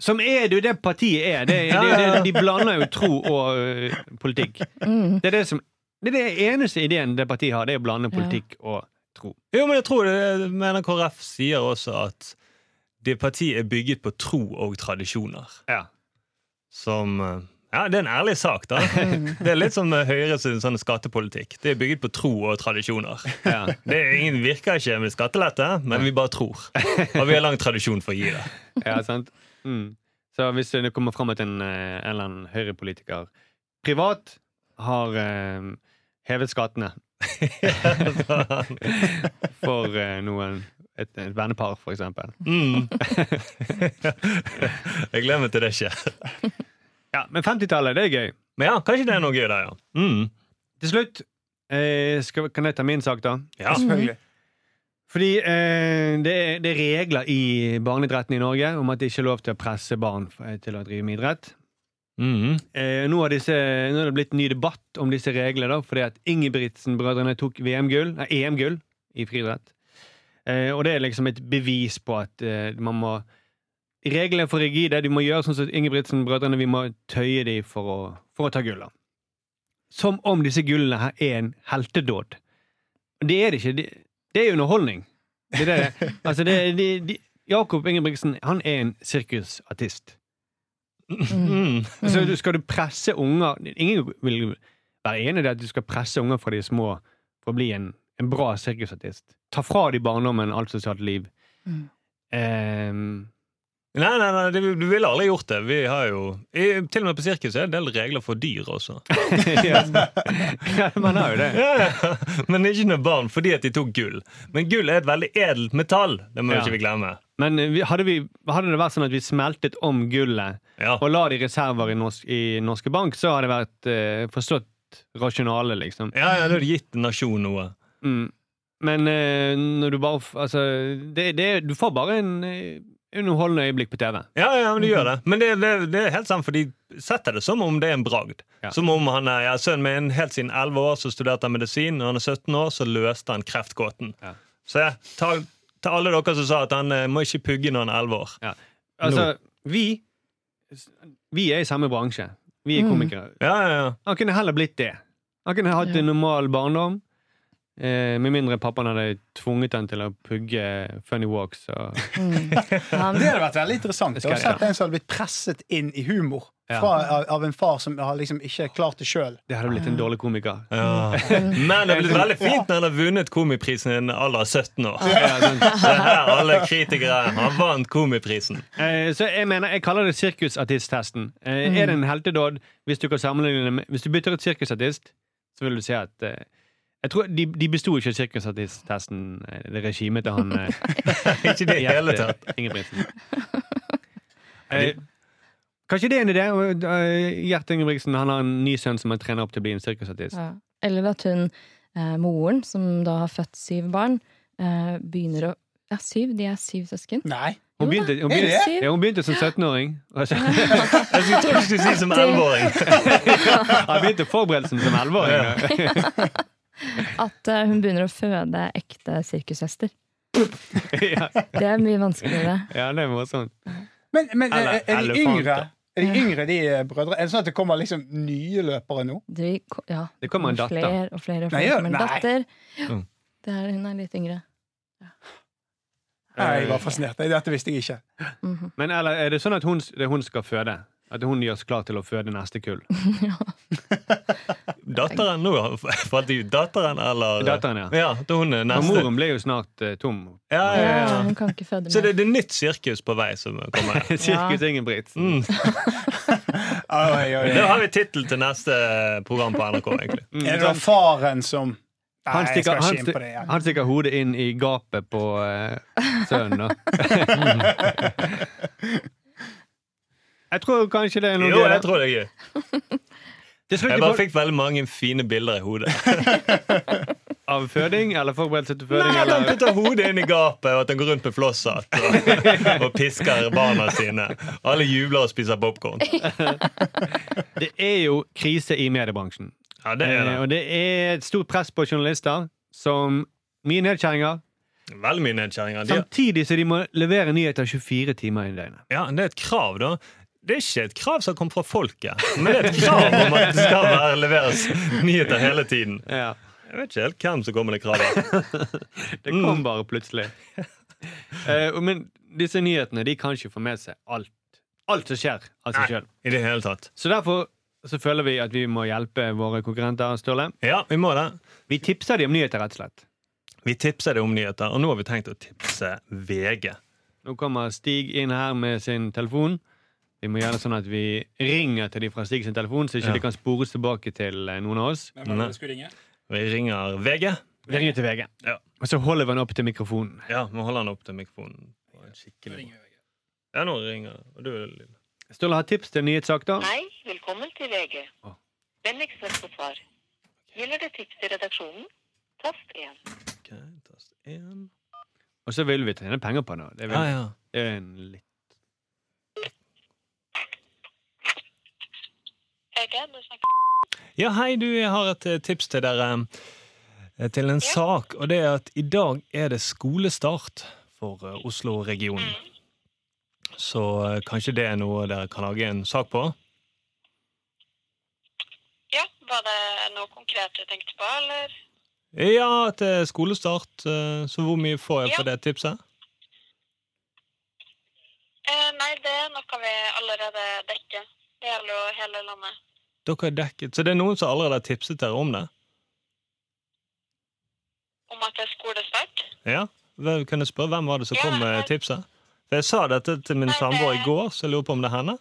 Speaker 4: som er det jo det partiet er. Det, det, det, det, de blander jo tro og eh, politikk.
Speaker 6: Mm.
Speaker 4: Det er det som Det er det eneste ideen det partiet har, det er å blande
Speaker 6: Ja.
Speaker 4: politikk og tro.
Speaker 5: Jo, men jeg tror det mener KrF sier også at det partiet er bygget på tro og tradisjoner.
Speaker 4: Ja.
Speaker 5: Som eh, Ja, det er en ærlig sak, da.
Speaker 6: Mm.
Speaker 5: Det er litt som eh, Høyres sånn skattepolitikk. Det er bygget på tro og tradisjoner.
Speaker 4: Ja.
Speaker 5: Det er ingen virker ikke med skattelette, men vi bare tror. Og vi har lang tradisjon for å gi det.
Speaker 4: Ja, sant? Mm. Så hvis det kommer fram at en eh, eller annen høyrepolitiker privat har eh, hevet skattene for eh, noen et, et vennepar, for eksempel.
Speaker 5: Mm. Jeg gleder meg til det skjer.
Speaker 4: Ja, men 50-tallet, det er gøy.
Speaker 5: Men ja, kanskje det er noe gøy der, ja. Mm.
Speaker 4: Til slutt eh, skal, kan jeg ta min sak, da.
Speaker 5: ja.
Speaker 7: Selvfølgelig.
Speaker 4: Fordi eh, det, er, det er regler i barneidretten i Norge om at det ikke er lov til å presse barn eh, til å drive med idrett.
Speaker 5: Mm.
Speaker 4: Eh, nå, har disse, nå er det blitt ny debatt om disse reglene, da, fordi at Ingebrigtsen-brødrene tok VM-gull, nei, EM-gull i friidrett. Eh, og det er liksom et bevis på at eh, man må Reglene er for rigide. De må gjøre sånn som Ingebrigtsen-brødrene. Vi må tøye de for å, for å ta gull. da. Som om disse gullene her er en heltedåd. Det er det ikke. Det, det er underholdning. Det er det. det er. Altså, det, de, de, Jakob Ingebrigtsen han er en sirkusartist.
Speaker 5: Mm.
Speaker 4: Så du- skal du presse unger Ingen vil være enig i det at du skal presse unger fra de er små for å bli en, en bra sirkusartist. Ta fra de barndommen alt sosialt liv.
Speaker 6: Mm.
Speaker 4: Ehm,
Speaker 5: Nei, nei, nei, det- du ville aldri gjort det. Vi har jo, i, til og med på sirkus er det en del regler for dyr også.
Speaker 4: ja, ja, man har jo det.
Speaker 5: Ja, ja. Men ikke noe barn, fordi at de tok gull. Men gull er et veldig edelt metall. Det må
Speaker 4: Ja.
Speaker 5: vi ikke vi glemme.
Speaker 4: Men eh, vi, hadde, vi, hadde det vært sånn at vi smeltet om gullet
Speaker 5: Ja.
Speaker 4: og la det i reserver i, norsk, i Norske Bank, så hadde det vært eh, forstått rasjonale, liksom.
Speaker 5: Ja, ja, det har gitt en nasjon noe.
Speaker 4: Mm. Men eh, når du bare f- Altså, det, det, du får bare en eh, underholdende øyeblikk på TV.
Speaker 5: Ja, ja, men det gjør
Speaker 4: Mhm.
Speaker 5: det. Men det, det, det er helt sant, for de setter det som om det er en bragd.
Speaker 4: Ja.
Speaker 5: Som om han er ja, sønnen min helt siden 11 år, så studerte han medisin. Når han er 17 år, så løste han kreftgåten.
Speaker 4: Ja.
Speaker 5: Så ja, ta, ta alle dere som sa at han eh, må ikke pugge når han er 11 år.
Speaker 4: Ja. Altså, vi Vi er i samme bransje. Vi er
Speaker 6: Mm.
Speaker 4: komikere.
Speaker 5: Ja, ja, ja.
Speaker 4: Han kunne heller blitt det. Han kunne hatt
Speaker 6: Ja.
Speaker 4: en normal barndom. Eh, med mindre pappaen hadde tvunget han til å pugge funny walks. Og,
Speaker 6: Han,
Speaker 7: Det hadde vært veldig interessant
Speaker 4: Det skal
Speaker 7: å
Speaker 4: jeg,
Speaker 7: sett en som hadde blitt presset inn i humor
Speaker 4: Ja.
Speaker 7: fra, av, av en far som har liksom ikke klart det sjøl.
Speaker 4: det hadde blitt en dårlig komiker.
Speaker 5: ja.
Speaker 4: Mm.
Speaker 5: Men det blir veldig fint når han har vunnet Komiprisen i en alder av 17 år.
Speaker 4: Ja, sånn.
Speaker 5: Det er her alle kritikere Han vant Komiprisen.
Speaker 4: eh, så jeg mener, jeg kaller det sirkusartisttesten. Eh, Er
Speaker 5: Mm.
Speaker 4: det en heltedåd hvis du kan sammenligne det med Hvis du bytter ut sirkusartist, så vil du si at eh, jeg tror De, de besto ikke sirkusartisttesten, eh, det regimet til han eh,
Speaker 5: Ikke det i
Speaker 4: Gjette
Speaker 5: hele tatt.
Speaker 4: Ingebrigtsen. Eh, kanskje det er en idé? og, eh, Gjert Ingebrigtsen han har en ny sønn som han trener opp til å bli en sirkusartist.
Speaker 6: ja. Eller at hun, eh, moren, som da har født syv barn, eh, begynner å Ja, syv. De er syv søsken.
Speaker 7: Nei.
Speaker 4: Hun
Speaker 6: Jo da,
Speaker 4: begynte, hun
Speaker 7: er
Speaker 4: begynte,
Speaker 6: det?
Speaker 4: ja, hun begynte som 17-åring. og så-
Speaker 5: Jeg skulle tro du skulle si som 11-åring.
Speaker 4: Han begynte forberedelsen som 11-åring.
Speaker 6: At eh, hun begynner å føde ekte sirkushester.
Speaker 4: Ja,
Speaker 6: Det er mye vanskeligere.
Speaker 4: ja, det er morsomt.
Speaker 7: Men, men er,
Speaker 5: Eller
Speaker 7: er de
Speaker 5: elefanter.
Speaker 7: yngre? Er de yngre, de eh, brødre? Er det sånn at det kommer liksom nye løpere nå?
Speaker 6: De, ko- ja,
Speaker 4: Det kommer en datter.
Speaker 6: Flere og flere og
Speaker 7: Nei,
Speaker 6: flere
Speaker 7: ja,
Speaker 6: kommer en
Speaker 7: nei.
Speaker 6: datter. Ja.
Speaker 5: Mm.
Speaker 6: Det er, hun er litt yngre.
Speaker 7: Nei, jeg var fascinert. Nei, Dette visste jeg ikke.
Speaker 6: Mhm.
Speaker 4: Men eller, er det sånn at hun, det er hun skal føde? At hun gjøres klar til å føde neste kull?
Speaker 5: Datteren nå? Falt det ut datteren, eller
Speaker 4: Datteren, ja.
Speaker 5: Ja, da hun er
Speaker 4: Og
Speaker 5: neste.
Speaker 4: moren ble jo snart eh, tom.
Speaker 5: Ja, ja,
Speaker 6: Ja,
Speaker 5: ja.
Speaker 6: hun kan ikke føde
Speaker 5: Så det,
Speaker 6: mer.
Speaker 5: det er nytt sirkus på vei som kommer her.
Speaker 4: Sirkus Ingebrigtsen.
Speaker 5: Mm.
Speaker 7: Oi, oi,
Speaker 5: Da
Speaker 7: oi.
Speaker 5: har vi tittel til neste program på NRK, egentlig.
Speaker 4: Mm,
Speaker 7: Er det da
Speaker 4: sånn.
Speaker 7: faren som Nei,
Speaker 4: Han
Speaker 7: jeg
Speaker 4: stikker,
Speaker 7: skal
Speaker 4: han,
Speaker 7: ikke inn på det
Speaker 4: sti-
Speaker 7: igjen.
Speaker 4: han stikker hodet inn i gapet på eh, sønnen. Da. jeg tror kanskje det er noe gøy
Speaker 5: Jo,
Speaker 4: der.
Speaker 5: jeg tror det er gøy.
Speaker 4: Til slutt i
Speaker 5: Jeg bare
Speaker 4: pod-
Speaker 5: fikk veldig mange fine bilder i hodet.
Speaker 4: Av føding eller forberedelse til
Speaker 5: Nei,
Speaker 4: føding?
Speaker 5: At han
Speaker 4: eller?
Speaker 5: putter hodet inn i gapet, og at han går rundt med flosshatt og, og pisker barna sine. Alle jubler og spiser popkorn.
Speaker 4: Det er jo krise i mediebransjen.
Speaker 5: Ja, det er
Speaker 4: Eh,
Speaker 5: det.
Speaker 4: Og det er et stort press på journalister, som mye nedkjerringer,
Speaker 5: Veldig mye nedkjerringer. De-
Speaker 4: samtidig som de må levere nyheter 24 timer i døgnet.
Speaker 5: Ja, det er et krav, da. Det er ikke et krav som kommer fra folket, men det er et krav om at det skal være leveres nyheter hele tiden. Jeg vet ikke helt hvem som kommer med det kravet.
Speaker 4: Det kom bare plutselig. Eh, og men disse nyhetene de kan ikke få med seg alt, alt som skjer av seg sjøl.
Speaker 5: I det hele tatt.
Speaker 4: Så derfor så føler vi at vi må hjelpe våre konkurrenter. Sturle.
Speaker 5: Ja, vi må det.
Speaker 4: Vi tipser dem om nyheter, rett og slett.
Speaker 5: Vi tipser deg om nyheter, og nå har vi tenkt å tipse VG.
Speaker 4: Nå kommer Stig inn her med sin telefon. Vi må gjøre det sånn at vi ringer til de fra Stig sin telefon, så ikke
Speaker 5: Ja.
Speaker 4: de kan spores tilbake til eh, noen av oss.
Speaker 8: Hvem var det du skulle ringe?
Speaker 5: Vi ringer VG.
Speaker 4: Vi ringer til VG.
Speaker 5: Ja.
Speaker 4: Og så holder vi den opp til mikrofonen.
Speaker 5: Ja, vi holder den opp til mikrofonen. Det var en
Speaker 8: Nå
Speaker 5: Skikkelig.
Speaker 8: ringer vi.
Speaker 5: Ja, nå ringer det. Og du, Lille.
Speaker 4: Sturle har tips til nyhetssak, da.
Speaker 9: Hei, velkommen til VG.
Speaker 4: Å.
Speaker 9: Vennligst vent på svar. Gjelder det tips til redaksjonen? Tast 1.
Speaker 5: Ok, tast én.
Speaker 4: Og så vil vi tjene penger på det. Det er, vel,
Speaker 5: Ja, Ah, ja.
Speaker 4: det er en litt
Speaker 9: Er det noe som
Speaker 5: Ja, hei, du, jeg har et eh, tips til dere eh, til en sak, og det er at i dag er det skolestart for eh, Oslo-regionen. Så eh, kanskje det er noe dere kan lage en sak på?
Speaker 9: Ja, var det noe konkret du tenkte på, eller?
Speaker 5: Ja, at det er skolestart, eh, så hvor mye får jeg for det tipset?
Speaker 9: Eh, nei, det er noe vi allerede dekker. Det gjelder jo hele landet.
Speaker 5: Dere er dekket, så det er noen som allerede har tipset dere om det?
Speaker 9: Om at det er skolestart?
Speaker 5: Ja, Hvem- Kan jeg spørre hvem var det som
Speaker 9: Ja,
Speaker 5: kom med
Speaker 9: jeg-
Speaker 5: tipset? For jeg sa dette til
Speaker 9: Nei,
Speaker 5: min
Speaker 9: det-
Speaker 5: samboer i går, så jeg lurer på om det er henne.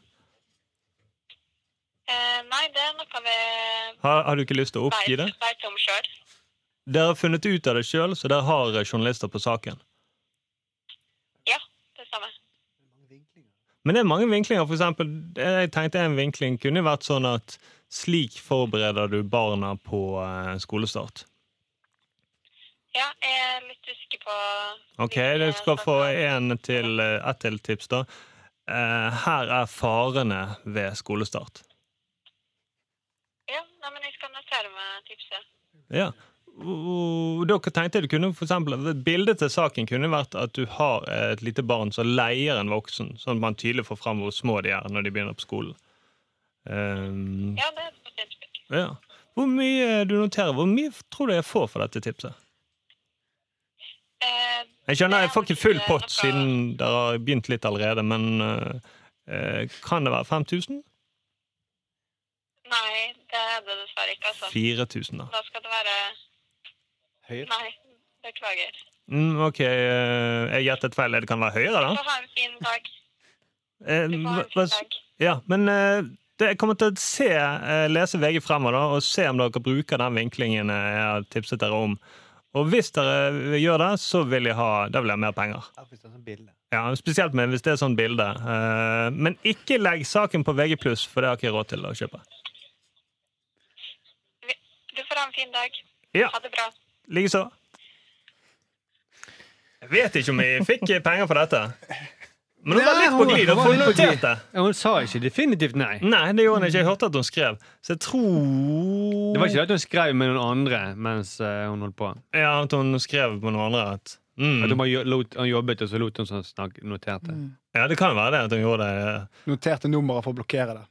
Speaker 9: Eh, nei, det er noe vi
Speaker 5: Har, har du ikke lyst til å oppgi det?
Speaker 9: vet, vet om sjøl.
Speaker 5: Dere har funnet ut av det sjøl, så dere har eh, journalister på saken.
Speaker 9: Ja, det stemmer.
Speaker 5: Men det er mange vinklinger. For eksempel, eh, jeg tenkte en vinkling kunne vært sånn at slik forbereder du barna på eh, skolestart.
Speaker 9: Ja, jeg er litt usikker på
Speaker 5: Ok,
Speaker 9: hvilke
Speaker 5: du skal få
Speaker 9: saker-
Speaker 5: en til, eh, ett til tips, da. Eh, her er farene ved skolestart.
Speaker 9: Ja, nei, men jeg skal notere meg tipset.
Speaker 5: Ja. Og dere tenkte det kunne for eksempel, Bildet til saken kunne vært at du har eh, et lite barn som leier en voksen, sånn at man tydelig får fram hvor små de er når de begynner på skolen. Eh,
Speaker 9: Ja, det er et godt innspill.
Speaker 5: Ja. Hvor mye eh, du noterer, hvor mye tror du jeg får for dette tipset?
Speaker 9: Eh,
Speaker 5: Jeg skjønner, jeg får ikke full pott siden dere har begynt litt allerede, men øh, øh, kan det være 5000?
Speaker 9: nei, det er det dessverre ikke, altså.
Speaker 5: 4000, da.
Speaker 9: Da skal det være
Speaker 4: høyere.
Speaker 9: Nei, beklager.
Speaker 5: Mm, ok, øh, jeg gjettet feil. Det kan være høyere,
Speaker 9: Du
Speaker 5: da?
Speaker 9: får ha en fin dag.
Speaker 5: Eh,
Speaker 9: Du får ha
Speaker 5: hva-
Speaker 9: en
Speaker 5: hva
Speaker 9: fin
Speaker 5: s-
Speaker 9: dag.
Speaker 5: ja, men øh, det, jeg kommer til å se, øh, lese VG fremover da, og se om dere bruker den vinklingen øh, jeg har tipset dere om. Og hvis dere eh, gjør det, så vil jeg ha, da vil jeg ha mer penger. Ja, Spesielt med, hvis det er sånn bilde. Eh, men ikke legg saken på VG+, for det har ikke jeg råd til å kjøpe.
Speaker 9: Du får ha en fin dag.
Speaker 5: Ja.
Speaker 9: Ha det bra.
Speaker 5: Likeså. Jeg vet ikke om jeg fikk penger for dette. Men hun var
Speaker 4: Nei,
Speaker 5: litt på glid.
Speaker 4: hun
Speaker 5: og
Speaker 4: var
Speaker 5: Hun
Speaker 4: litt på glid.
Speaker 5: noterte.
Speaker 4: Ja, hun sa ikke definitivt nei.
Speaker 5: Nei, det gjorde hun ikke. Jeg hørte at hun skrev. Så jeg tror
Speaker 4: Det var ikke det at hun skrev med noen andre mens eh, hun holdt på.
Speaker 5: Ja, At hun skrev på noen andre. At,
Speaker 4: At hun
Speaker 5: mm.
Speaker 4: bare jo- lot, han jobbet, og så lot hun sånn snak, noterte.
Speaker 5: Ja, Det kan jo være det at hun gjorde det.
Speaker 7: Noterte nummeret for å blokkere det.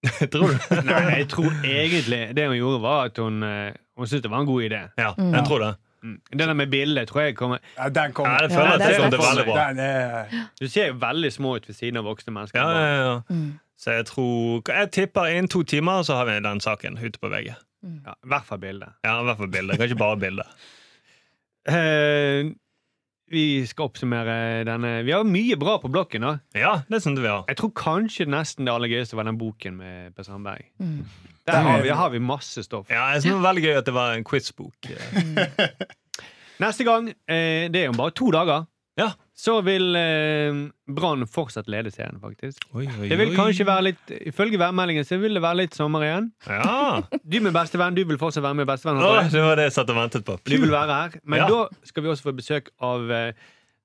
Speaker 5: Jeg tror det.
Speaker 4: Nei, jeg tror egentlig det hun gjorde, var at hun, eh, hun syntes det var en god idé.
Speaker 5: Ja, jeg tror det.
Speaker 4: Det der med bildet tror jeg kommer
Speaker 7: Ja,
Speaker 5: Ja,
Speaker 7: den kommer.
Speaker 5: jeg føler at
Speaker 6: Ja, det
Speaker 5: det
Speaker 6: er
Speaker 5: kom til
Speaker 6: det.
Speaker 5: å veldig bra.
Speaker 7: Den er
Speaker 4: Du ser jo veldig små ut ved siden av voksne mennesker.
Speaker 5: Ja, ja, ja.
Speaker 6: Mm.
Speaker 5: Så jeg tror Jeg tipper innen to timer, så har vi den saken ute på VG.
Speaker 4: Ja, I hvert fall bildet.
Speaker 5: Ja, i hvert fall bildet. Kanskje bare bildet.
Speaker 4: Eh, vi skal oppsummere denne. Vi har mye bra på blokken. da.
Speaker 5: Ja, det syns vi har.
Speaker 4: Jeg tror kanskje nesten det aller gøyeste var den boken med Per Sandberg.
Speaker 6: Mm.
Speaker 4: Der har vi, der har vi masse stoff.
Speaker 5: Ja, jeg synes det var veldig gøy at det var en quizbok.
Speaker 4: Neste gang, eh, det er om bare to dager,
Speaker 5: Ja.
Speaker 4: så vil eh, Brann fortsatt lede serien, faktisk.
Speaker 5: Oi, oi,
Speaker 4: Det vil kanskje være litt, Ifølge værmeldingen så vil det være litt sommer igjen.
Speaker 5: Ja!
Speaker 4: Du med bestevenn, du vil fortsatt være med bestevenn. håper
Speaker 5: Åh,
Speaker 4: jeg.
Speaker 5: det var det jeg satt og ventet på.
Speaker 4: Du vil være her. Men
Speaker 5: Ja.
Speaker 4: da skal vi også få besøk av eh,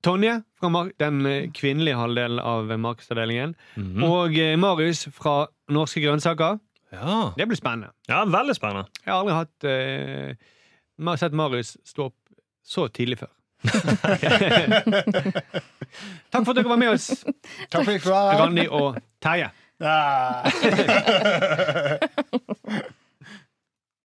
Speaker 4: Tonje, fra Mar den eh, kvinnelige halvdelen av eh, markedsavdelingen.
Speaker 5: Mhm.
Speaker 4: Og eh, Marius fra Norske grønnsaker.
Speaker 5: Ja.
Speaker 4: Det blir spennende.
Speaker 5: ja, veldig spennende.
Speaker 4: Jeg har aldri hatt eh, jeg har sett Marius stå opp så tidlig før. Takk for at dere var med oss,
Speaker 7: Takk for i kveld.
Speaker 4: Randi og Terje.
Speaker 7: Ja.